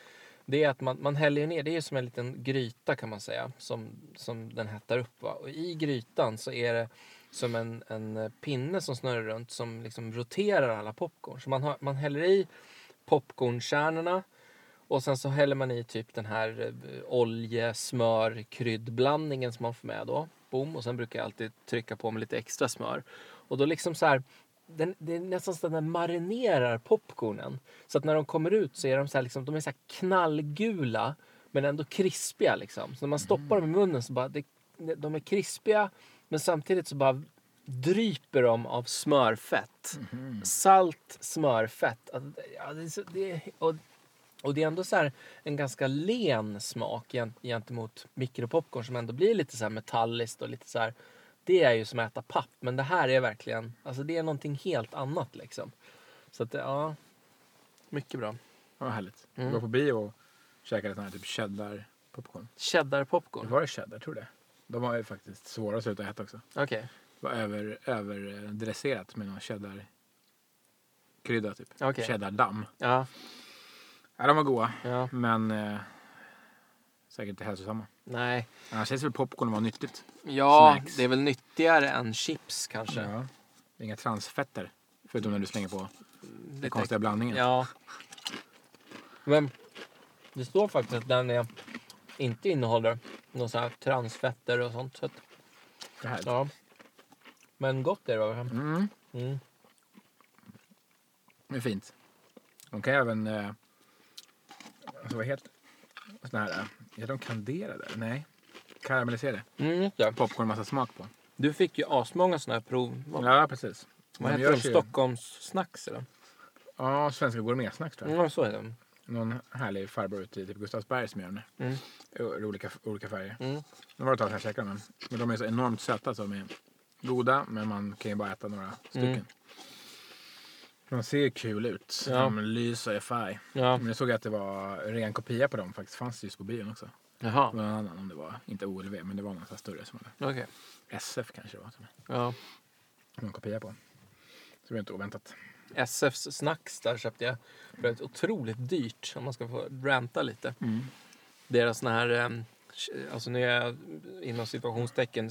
det är att man, man häller ju ner, det är ju som en liten gryta kan man säga, som, som den hettar upp. Va? Och i grytan så är det som en, en eh, pinne som snurrar runt som liksom roterar alla popcorn. Så man, har, man häller i popcornkärnorna och sen så häller man i typ den här eh, olje, smör, kryddblandningen som man får med då. Boom. Och sen brukar jag alltid trycka på med lite extra smör. Och då liksom så här, den, det är nästan så att den marinerar popcornen. Så att när de kommer ut så är de så här, liksom, de är så här knallgula men ändå krispiga liksom. Så när man stoppar dem i munnen så bara, det, de är krispiga men samtidigt så bara dryper de av smörfett. Salt smörfett. Att- Ja, det är så, det är, och och det är ändå så här en ganska len smak gen- gentemot mikropopcorn som ändå blir lite så här metalliskt och lite så här. Det är ju som att äta papp, men det här är verkligen, alltså det är någonting helt annat liksom. Så att det- ja, mycket bra. Vad härligt. Mm. Vi var på bio och käkade sån här typ cheddar popcorn. Det Cheddar-popcorn? var det cheddar, tror det. De var ju faktiskt svåra att sluta äta också. Okej. Det var över, överdresserat med någon cheddar krydda typ. Okej. Cheddardamm. Ja, Ja, de var goda. ja, Men eh, säkert inte hälsosamma. nej. Annars känns väl popcorn vara nyttigt. Ja, Snacks. det är väl nyttigare än chips kanske. Ja. Inga transfetter. Förutom när du slänger på det den konstiga blandningen. Ja. Men det står faktiskt att den är, inte innehåller någon så här transfetter och sånt. Så att, Det här. ja. Men gott är det va? Mm, Mm. det är fint. De kan även... Eh, alltså vad heter såna här? eh, Heter de kanderade? Nej. Karamelliserade. Mm, just det. Popcorn massa smak på. Du fick ju asmånga såna här prov. Vad, Ja, precis. vad De heter de? görs ju- Stockholmsnacks eller? Ja, Svenska Gourmetsnacks tror jag. Ja, så heter de. Någon härlig farbror ute i typ Gustavsberg som gör dem. Mm. I olika, olika färger. Mm. Nu var det ett tag sedan jag käkade dem. Men de är så enormt söta så de är goda. Men man kan ju bara äta några stycken. Mm. De ser ju kul ut. Ja. De lyser i färg. Ja. Men jag såg att det var ren kopia på dem faktiskt. Fanns just på bion också. Jaha. Det var någon annan om det var, inte OLV, men det var någon sån här större som hade. Okej. SF kanske det var. Som Ja. det var en kopia på. Så det var inte oväntat. SFs snacks där köpte jag. För det är otroligt dyrt om man ska få ranta lite. Deras såna här, eh, ch- alltså nu är jag inom situationstecken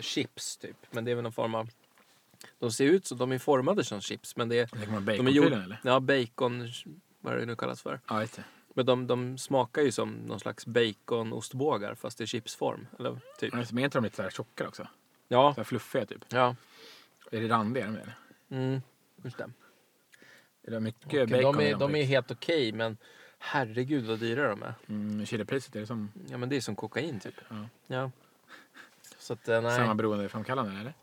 chips typ. Men det är väl någon form av, de ser ut som, de är formade som chips. Men det är, Lägger man de är gjord- baconfyllan eller? ja bacon, vad det nu kallas för. Ja, just det. Men de, de smakar ju som någon slags baconostbågar fast i chipsform. Eller typ. Ja, just det. Men är inte de lite så här tjockare också? Ja, Så här fluffiga typ? ja. Är det randiga de är? eller? Mm, just det. Är det mycket Okej, bacon de i är, de är fick? helt okej men herregud vad dyra de är. Mm, Chilepriset, är det som Ja men det är som kokain typ. Ja. Ja. Så att eh, nej. samma beroendeframkallande eller?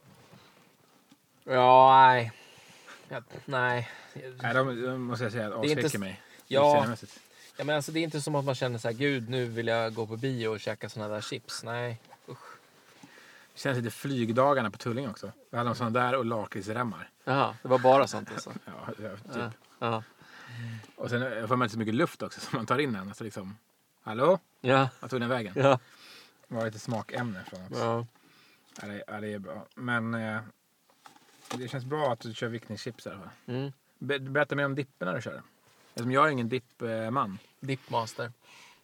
Ja, nej. Ja, nej. Nej, de, de måste jag säga att Det är inte avskräcker s- mig. Ja. utseendemässigt. Ja, men alltså, det är inte som att man känner så här, gud nu vill jag gå på bio och käka såna där chips. Nej. Usch. Det känns lite flygdagarna på Tullinge också. Då hade de sådana där och lakritsremmar. Jaha, det var bara sånt alltså. Ja, ja, typ. Ja, ja. Och sen eh, får man inte så mycket luft också så man tar in den. Så liksom, hallå? Ja. Vart tog den vägen? Ja. Det var lite smakämne från också. ja. Ja, det, ja, det är bra. Men eh, det känns bra att du kör vickningschips i alla fall. Mm. Be- berätta mer om dipperna du kör. Eftersom jag är ingen dippman. Dippmaster.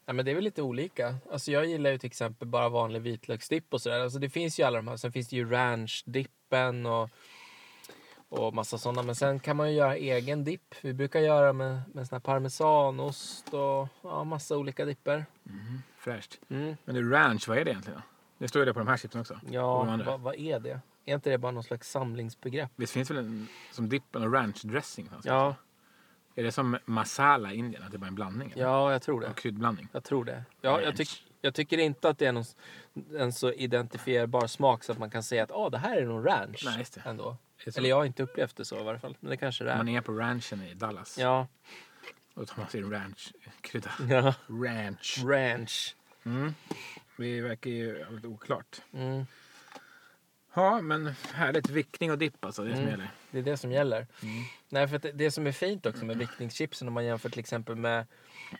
Ja, men det är väl lite olika. Alltså jag gillar ju till exempel bara vanlig vitlöksdipp och sådär. Alltså det finns ju alla de här. Sen finns det ju ranchdippen och, och massa sådana. Men sen kan man ju göra egen dipp. Vi brukar göra med, med sån här parmesanost och ja, massa olika dipper. Fräscht. Men du, ranch, vad är det egentligen? Det står ju det på de här chipsen också. Och Mm, Ja, de vad andra. vad är det? Är inte det bara någon slags samlingsbegrepp? Visst finns väl en, som dippen och ranchdressing? Alltså. Ja, Är det som masala i Indien? Att det bara är en blandning? eller? ja jag tror det. En kryddblandning? Jag tror det. Ja, jag, tyck, jag tycker inte att det är någon, s- en så identifierbar smak så att man kan säga att ah, det här är nog ranch. Nej, just det. Ändå. Det är så. Eller jag har inte upplevt det så i varje fall. Men det kanske det är. Man är på ranchen i Dallas. Ja. Mm. Och då tar man sin ranchkrydda. ja. Ranch. Ranch. Mm. Det verkar ju lite oklart. Mm. Ja, men härligt. Vickning och dipp alltså. Det är det som Mm. gäller. Det är det som gäller. Mm. Nej, för att det, det som är fint också med viktningschipsen om man jämför till exempel med,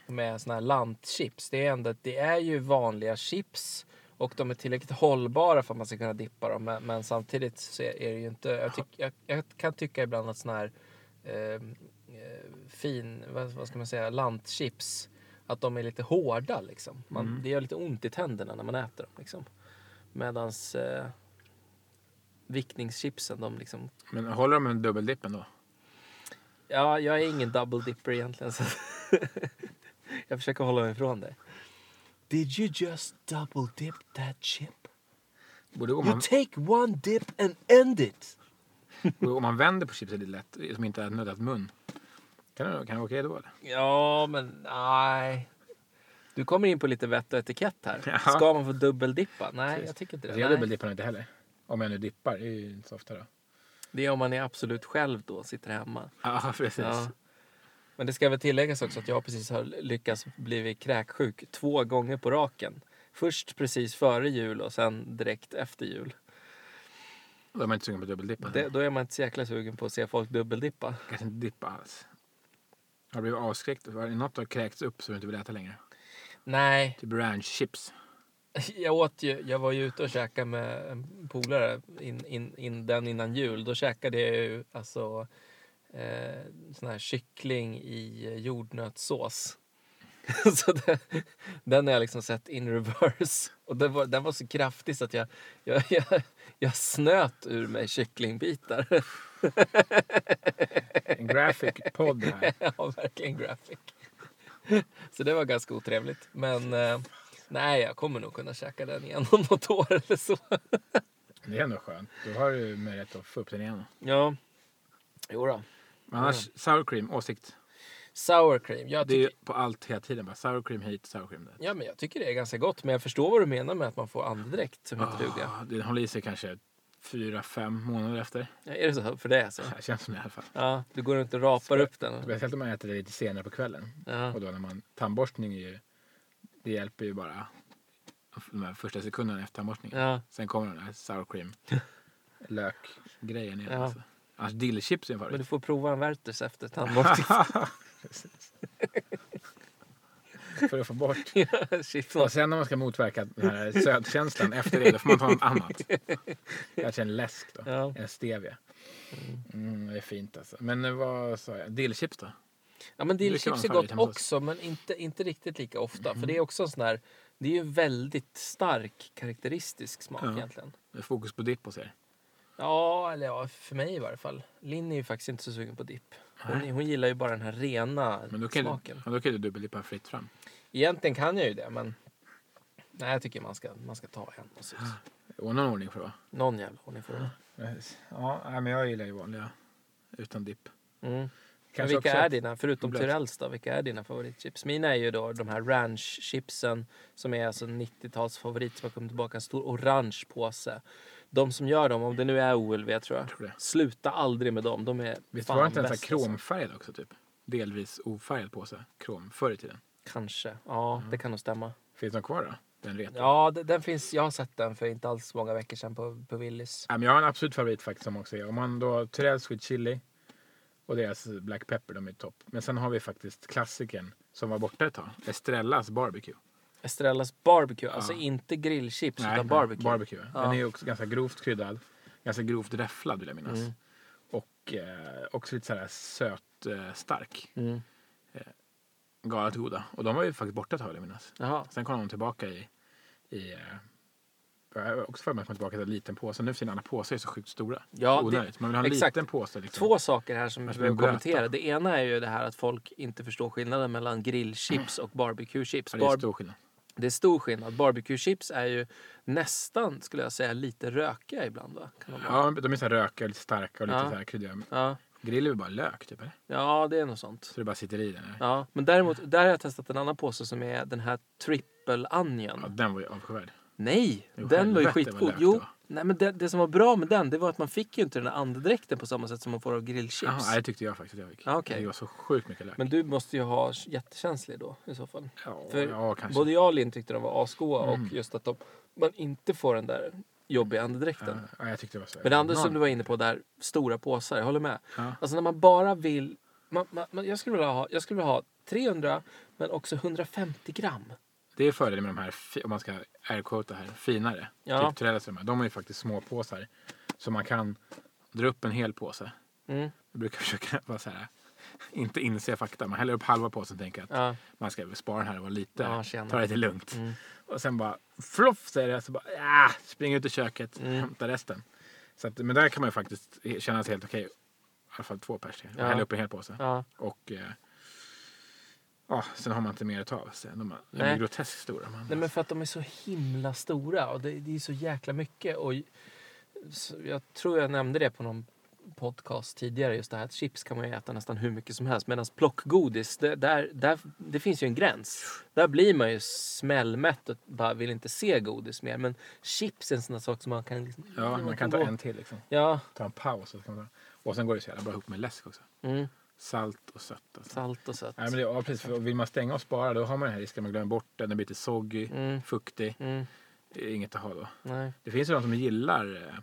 med såna här lantchips. Det är ändå att det är ju vanliga chips och de är tillräckligt hållbara för att man ska kunna dippa dem. Men, men samtidigt så är är det ju inte... Jag, tyck, jag, jag kan tycka ibland att såna här eh, eh, fin... Vad, vad ska man säga? Lantchips. Att de är lite hårda liksom. Man, Det gör lite ont i tänderna när man äter dem liksom. Medans eh, viktningschipsen de liksom Men håller de en dubbeldipp ändå? Ja, jag är ingen double dipper egentligen. Så jag försöker hålla mig ifrån det. Did you just double dip that chip? Både om, You man, take one dip and end it! både om man vänder på chipset lite lätt, som inte är nödat mun. Kan det, kan det vara okej då eller? Ja, men nej. Du kommer in på lite vett och etikett här. Ja. Ska man få dubbeldippa? Nej, Precis. jag tycker inte det. Alltså, jag Nej. dubbeldippar nog inte heller. Om jag nu dippar. Det är ju inte så ofta då. Det är om man är absolut själv då, sitter hemma. Ja, precis. Ja. Men det ska väl tilläggas också att jag precis har lyckats bli kräksjuk två gånger på raken. Först precis före jul och sen direkt efter jul. Då är man inte sugen på dubbeldippa. Det, då är man inte så jäkla sugen på att se folk dubbeldippa. Kanske inte dippa alls. Har du blivit avskräckt? Har det något har kräkts upp så du inte vill äta längre? Nej, Typ ranchchips. jag åt ju, jag var ju ute och käkade med en polare in, in, in, den innan jul. Då käkade jag ju alltså eh, sån här kyckling i jordnötssås. så det, den har jag liksom sett in reverse. Och den var, den var så kraftig så att jag, jag, jag, jag snöt ur mig kycklingbitar. En graphic podd här. ja, verkligen graphic. Så det var ganska otrevligt. Men eh, nej, jag kommer nog kunna käka den igen om något år eller så. Det är ändå skönt. Då har du möjlighet att få upp den igen. Ja. Jo då. Men annars, sour cream, åsikt. Sour cream. Jag Det är tycker, ju på allt hela tiden. Bara sour cream hit, sour cream dit. ja, men jag tycker det är ganska gott. Men jag förstår vad du menar med att man får andedräkt som inte duga. Ah, Den håller i sig kanske fyra, fem månader efter. Ja, är det så för det alltså? Det känns som det i alla fall. Ja, du går inte och rapar upp den? Speciellt om man äter det lite senare på kvällen. Ja. Och då när man, tandborstning är ju, det hjälper ju bara de här första sekunderna efter tandborstningen. Ja. Sen kommer den här sour cream, lök-grejen igen. Ja. Alltså. Annars dillchips är en Men du favorit. får prova en Werthers efter tandborstning. För att få bort. Shit, Och sen när man ska motverka den här sötkänslan efter det, då får man ta något annat. Kanske en läsk då. Ja. En stevia. Mm, det är fint alltså. Men eh, vad sa jag? Dillchips då? Ja, men Brukar dillchips vara är en gott favorit hemma hos också, men inte, inte riktigt lika ofta. Mm. För det är också en sån här, det är ju en väldigt stark karaktäristisk smak Ja. egentligen. Det är Fokus på dipp hos er. Ja, eller ja, för mig i varje fall. Linn är ju faktiskt inte så sugen på dipp. Hon, hon gillar ju bara den här rena Men då kan, du, smaken. ja, då kan du dubbeldippa fritt fram. Egentligen kan jag ju det, men nej, jag tycker man ska, man ska ta en och så. Och någon ordning får det vara. Någon jävla ordning får Mm. det vara. Ja, nej, men jag gillar ju vanliga utan dipp. mm. Men Kanske vilka också- är dina, förutom Blöt. Tyrells då, vilka är dina favoritchips? Mina är ju då de här ranchchipsen som är alltså 90-tals favorit som har kommit tillbaka, en stor orange påse. De som gör dem, om det nu är OLV tror jag, tror det. sluta aldrig med dem. De är Visst fan alltså. var det inte ens bäst, så här kromfärgad också typ? Delvis ofärgad påse. Krom förr i tiden. Alltså. Kanske, ja det kan nog stämma. Finns de kvar då? Den retro? Ja, de- den finns, jag har sett den för inte alls många veckor sedan på, på Willys. Ja, men jag har en absolut favorit faktiskt som också är. Om man då har Tyrell Sweet Chili. Och deras Black Pepper, de är topp. Men sen har vi faktiskt klassikern som var borta ett tag. Estrellas Barbecue. Estrellas barbecue, alltså Ja. inte grillchips Nej, utan barbecue. barbecue. Ja. Den är ju också ganska grovt kryddad. Ganska grovt räfflad vill jag minnas. Mm. Och eh, också lite så här söt, eh, stark. Mm. Galet goda. Och de var ju faktiskt borta ett tag vill jag minnas. Jaha. Sen kom de tillbaka i... i eh, jag har också för mig att de kom tillbaka till en liten påse. Nu för tiden alla påsar är så sjukt stora. Ja, det, Onödigt. Man vill ha en exakt. liten påse. Liksom. två saker här som vi Kanske behöver blir blöta. kommentera. Det ena är ju det här att folk inte förstår skillnaden mellan grillchips och barbecuechips. Ja, Det är Bar- stor skillnad. det är stor skillnad. Barbecuechips är ju nästan, skulle jag säga, lite rökiga ibland. Va? Kan de vara? Ja, de är så här rökiga, lite starka och lite Ja. så här kryddiga. Ja. Grill är väl bara lök typ eller? ja, det är något sånt. Så det bara sitter i den. Här. Ja. Ja, men däremot, där har jag testat en annan påse som är den här triple onion. den var ju avskyvärd. Nej, Jo, den var ju helvete vad skitgod. lökt det Jo, var. nej, men det, det som var bra med den det var att man fick ju inte den där andedräkten på samma sätt som man får av Jaha, grillchips. nej, det tyckte jag faktiskt att jag fick. Ja, Ah, okej. Det var så sjukt mycket lök. men du måste ju ha jättekänslig då i så fall. ja, för ja, kanske. Både jag och Linn tyckte de var asgoa Mm. och just att de, man inte får den där jobbiga andedräkten. ja, ja, jag tyckte det var så. Men det andra som Någon- du var inne på där, stora påsar, jag håller med. Ja. Alltså när man bara vill... Man, man, man, jag, skulle vilja ha, jag skulle vilja ha 300 men också 150 gram. Det är fördelen med de här, fi- om man ska airquota här, finare. Ja. Typ Torellas och de här. De är ju faktiskt små påsar. Så man kan dra upp en hel påse. Mm. Jag brukar försöka vara så här, inte inse fakta. Man häller upp halva påsen och tänker att Ja. man ska spara den här och vara lite, Ja, tjena. ta det lite lugnt. Mm. Och sen bara floff säger det. Så bara, ah, spring ut i köket, Mm. hämta resten. Så att, men där kan man ju faktiskt känna sig helt okej. I alla fall två pers. Ja. Ja. Hälla upp en hel påse. Ja. Och eh, ja, sen har man inte mer att ta av. sig. De, är- de Nej. är groteskt stora. Man, Nej men för att de är så himla stora och det, det är så jäkla mycket. Och j- så jag tror jag nämnde det på någon podcast tidigare, just det här att chips kan man ju äta nästan hur mycket som helst. Medan plockgodis, det, där, där, det finns ju en gräns. Där blir man ju smällmätt och bara vill inte se godis mer. Men chips är en sån där sak som man kan... Liksom, ja, man kan ta en till liksom. Ja, Ta en paus. Och, så kan man ta. och sen går det så jävla bra ihop med läsk också. mm, Salt och sött. Alltså. salt och sött. Nej, men det, ja, precis. För vill man stänga och spara då har man den här risken att man glömmer bort den. Den blir lite soggy, Mm. fuktig. Mm, Det är Inget att ha då. nej, Det finns ju de som gillar eh,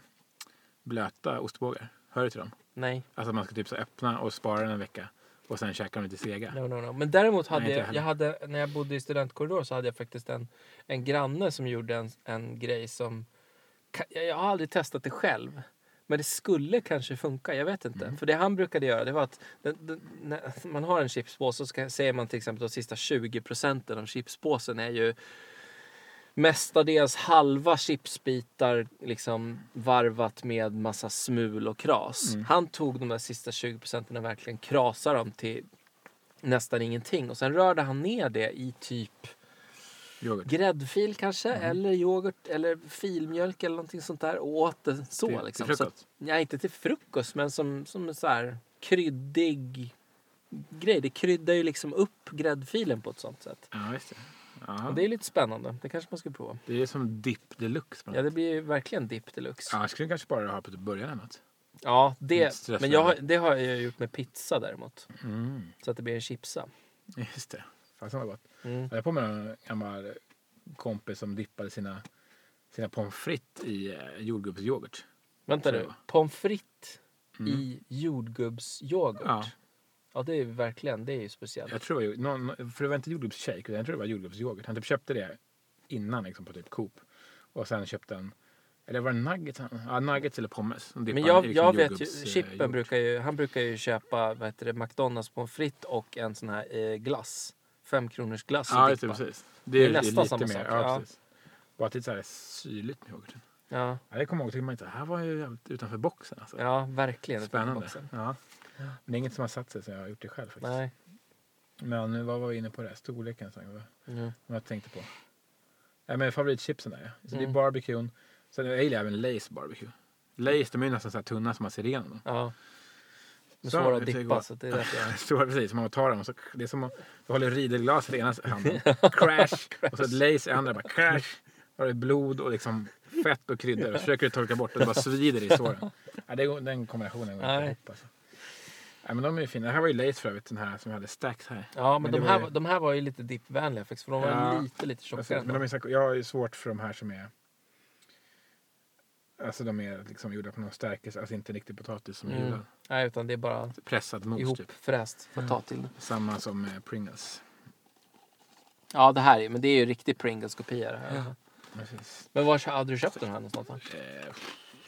blöta ostbågar. Hör du till dem? nej. Alltså att man ska typ så öppna och spara den en vecka och sen käka dem lite sega. No, no, no. Men däremot hade Nej, inte jag jag, jag hade, när jag bodde i studentkorridor så hade jag faktiskt en, en granne som gjorde en, en grej som... ka- Jag, jag har aldrig testat det själv. Men det skulle kanske funka, jag vet Mm. inte. För det han brukade göra det var att den, den, när man har en chipspåse så ska, säger man till exempel att de sista 20 procenten av chipspåsen är ju mestadels halva chipsbitar liksom varvat med massa smul och kras. Mm. Han tog de där sista 20 procenten och verkligen krasade dem till nästan ingenting. Och sen rörde han ner det i typ Yoghurt. gräddfil kanske, Mm. eller yoghurt, eller filmjölk eller någonting sånt där. Och åt det så Till- till liksom. frukost? Så, nej, inte till frukost, men som, som en så här kryddig grej. Det kryddar ju liksom upp gräddfilen på ett sånt sätt. Ja, just det. Och Ja. det är lite spännande. Det kanske man ska prova. Det är som dipp deluxe. på något Ja, det blir ju verkligen dipp deluxe. Ja, Ja, jag skulle kanske bara ha på typ början eller något. Lite det, stressande. men jag, har- det har jag ju gjort med pizza däremot. Mm. Så att det blir en chipsa. Just det. Fasen vad gott. Mm. Jag är på med en gammal kompis som dippade sina, sina pommes frites i eh, jordgubbsyoghurt. Vänta Så. nu, pommes frites i jordgubbsyoghurt. Mm. Ja, Ja, det är ju verkligen, det är ju speciellt. jag tror det var, ju- någon, för det var inte jordgubbsshake utan jag tror det var jordgubbsyoghurt. Han typ köpte det innan liksom, på typ Coop. Och sen köpte han, eller var det nuggets? han- Ja, nuggets eller pommes. De dippade Men i jag, liksom jag vet ju, jordgubbs, eh, Chippen yoghurt. brukar ju, han brukar ju köpa vad heter det, McDonalds pommes frites och en sån här eh, glass. Femkronors glass Ja, just det, precis. Det är, det är nästan lite samma mer. sak, Ja, ja. precis. Bara att det är så här syrligt med yoghurten. Ja, Ja, jag kommer ihåg, tycker man inte, det här var ju jävligt utanför boxen. Alltså. ja, verkligen. Spännande. Boxen. Ja. Men det är inget som har satt sig som jag har gjort det själv faktiskt. Nej. Men nu, vad var vi inne på där? Storleken sa jag, vad Ja. vad jag tänkte på. Ja, men favoritchipsen där ja. Så Mm. Det är barbecuen. Sen jag gillar även Lays barbecue. Lays de är ju nästan så här tunna som man ser igenom dem. ja. Men Så, svåra att det är dippa gott. så det är därför jag... Stora precis, man tar dem och så, det är som att du håller ridelglaset i ena handen. Crash! och så ett Lays i andra bara crash. Och det är blod och liksom fett och kryddor. Och försöker du torka bort det, det bara svider i såren. Ja, det, går- den kombinationen går Nej. inte ihop alltså. Ja, men de är ju fina. Det här var ju Lays för övrigt, den här som hade stacks här. Ja, men, Men det de, var här, ju- var- de här var ju lite dippvänliga faktiskt för de var Ja. lite, lite Alltså, tjockare. men de ändå. är, så- jag har ju svårt för de här som är... Alltså de är liksom gjorda på någon stärkelse, alltså inte riktig potatis som är Mm. gulad. Nej, utan det är bara Pressad mos typ. ihopfräst Mm. för att ta till det. Samma som eh, Pringles. Ja, det här är, men det är ju riktig Pringles-kopia det här. Precis. Men var hade du köpt den här någonstans? Då? Eh,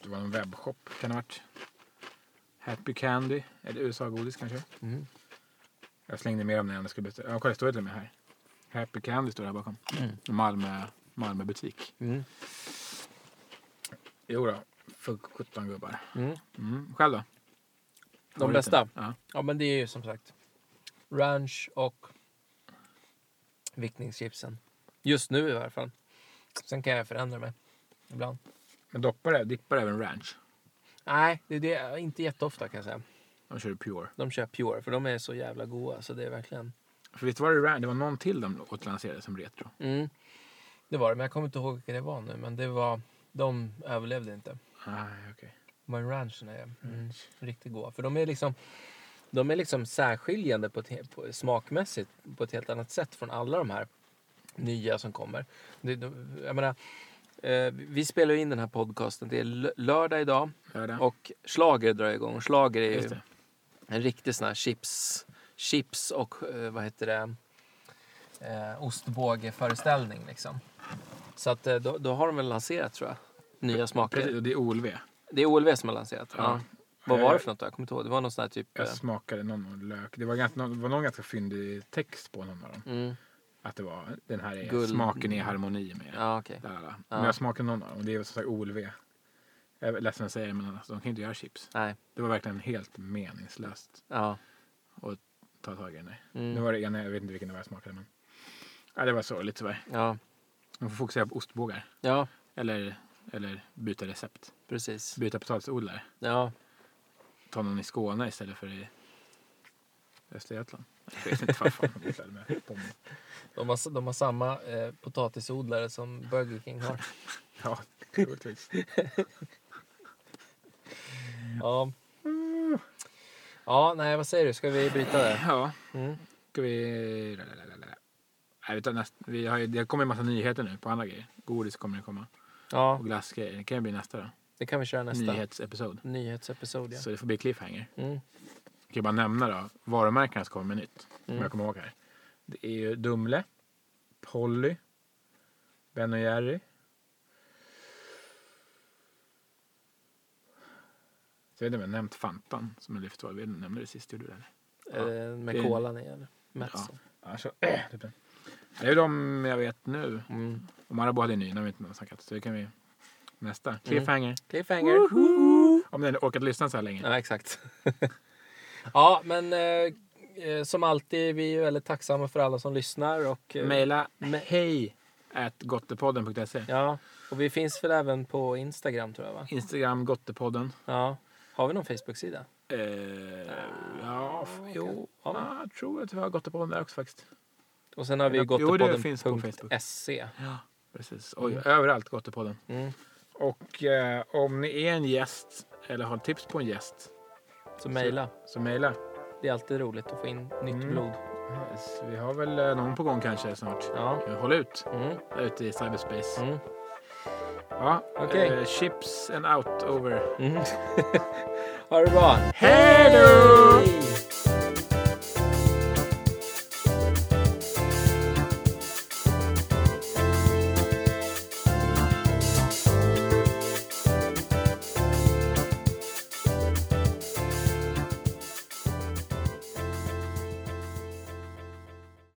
Det var en webbshop kan det ha varit. Happy Candy. Eller USA-godis kanske. Mm. Jag slängde mer om det än jag skulle byta. Ja, kolla, det står ju till och med här. Happy Candy står det här bakom. Malmö, Malmö butik. Mm. Jo då, för 17 gubbar. Mm. Mm. Själv då? Favoriten? bästa? Ja. Ja, men det är ju som sagt ranch och vickningschipsen. Just nu i alla fall. Sen kan jag förändra mig ibland. Men doppar det, dippar även ranch? Nej, det är det, inte jätteofta kan jag säga. De kör pure. De kör Pure, för de är så jävla goda. Så det är verkligen... För visst var det ranch? Det var någon till de återlanserade som retro. Mm. Det var det, men jag kommer inte ihåg vilka det var nu. Men det var... De överlevde inte. Nej, okej. Men ranchen är mm, riktigt goda. För de är liksom... De är liksom särskiljande på ett, he- på, smakmässigt på ett helt annat sätt från alla de här nya som kommer. Det, de, jag menar, eh, vi spelar ju in den här podcasten. Det är lö- lördag idag Lördag. och Schlager drar igång. Schlager är ju... Just det. En riktig sån här chips, chips och eh, vad heter det? Eh, ostbågeföreställning liksom. Så att eh, då, då har de väl lanserat tror jag. Nya smaker. Precis, och det är OLV. Det är OLV som har lanserat. Ja. Ja. Vad var det Eh, för något då? Jag kommer inte ihåg. Det var någon sån här typ... Jag eh, smakade någon lök. Det var, ganska, det var någon ganska fyndig text på någon av dem. Mm. Att det var den här är, Guld- smaken är i harmoni med. Ja, okej. la, la, la. Ja. Men jag smakade någon av dem och det är som sagt OLV. Jag är ledsen att säga det men alltså, de kan ju inte göra chips. Nej. Det var verkligen helt meningslöst Ja. att ta tag i den där. Nu Mm. var det ena, jag vet inte vilken det var jag smakade men. Ja, det var sorgligt tyvärr. Ja. De får fokusera på ostbågar. Ja, Eller, eller byta recept. precis. Byta potatisodlare. Ja. Ta någon i Skåne istället för i Östergötland. Jag vet inte vad fan de odlade med pommes. De har, de har samma eh, potatisodlare som Burger King har. Ja, troligtvis. Ja. Ja, nej, vad säger du? Ska vi bryta där? Ja, Mm. ska vi... lalalala. Nej, vi tar nästa. Vi har, ju- det kommer en massa nyheter nu på andra grejer. Godis kommer det komma. Ja, Och glassgrejer. Det kan ju bli nästa då. det kan vi köra nästa. Nyhetsepisod. Nyhetsepisod, ja. Så det får bli cliffhanger. Mm. Jag kan bara nämna då varumärkena som kommer med nytt. Om Mm. jag kommer ihåg här. Det är ju Dumle, Polly, Ben och Jerry. Jag vet inte om jag har nämnt Fantan som en lyftval. Jag nämnde det sist. Gjorde du det? eller? Eh, med det är- kolan i eller? Metsen. Alltså, typ det. det är ju de jag vet nu. Mm. Och Marabou hade ju ny, när vi inte har snackat. Så det kan vi... Nästa. Cliffhanger. Cliffhanger. Om ni hade orkat lyssna så här länge. Ja, exakt. ja, men eh, eh, som alltid, vi är ju väldigt tacksamma för alla som lyssnar. Och, eh, Maila hej at gottepodden.se. Ja, och vi finns väl även på Instagram tror jag va? Instagram gottepodden. Ja. Har vi någon Facebook-sida? Eh, ja, f- jo. Ja. Ja, jag tror att vi har gottepodden där också faktiskt. Och sen har vi Jo, ju det finns på gottepodden.se. Ja, precis. Oj, överallt gottepodden. E. Mm. Och eh, om ni är en gäst eller har tips på en gäst Så mejla. så mejla. Det är alltid roligt att få in nytt Mm. blod. Yes, Vi har väl eh, någon på gång kanske snart. Ja. Håll ut Mm. där ute i cyberspace. Mm. Ja, Okej. eh, chips and out over. Mm. ha det bra! Hej då! Hej!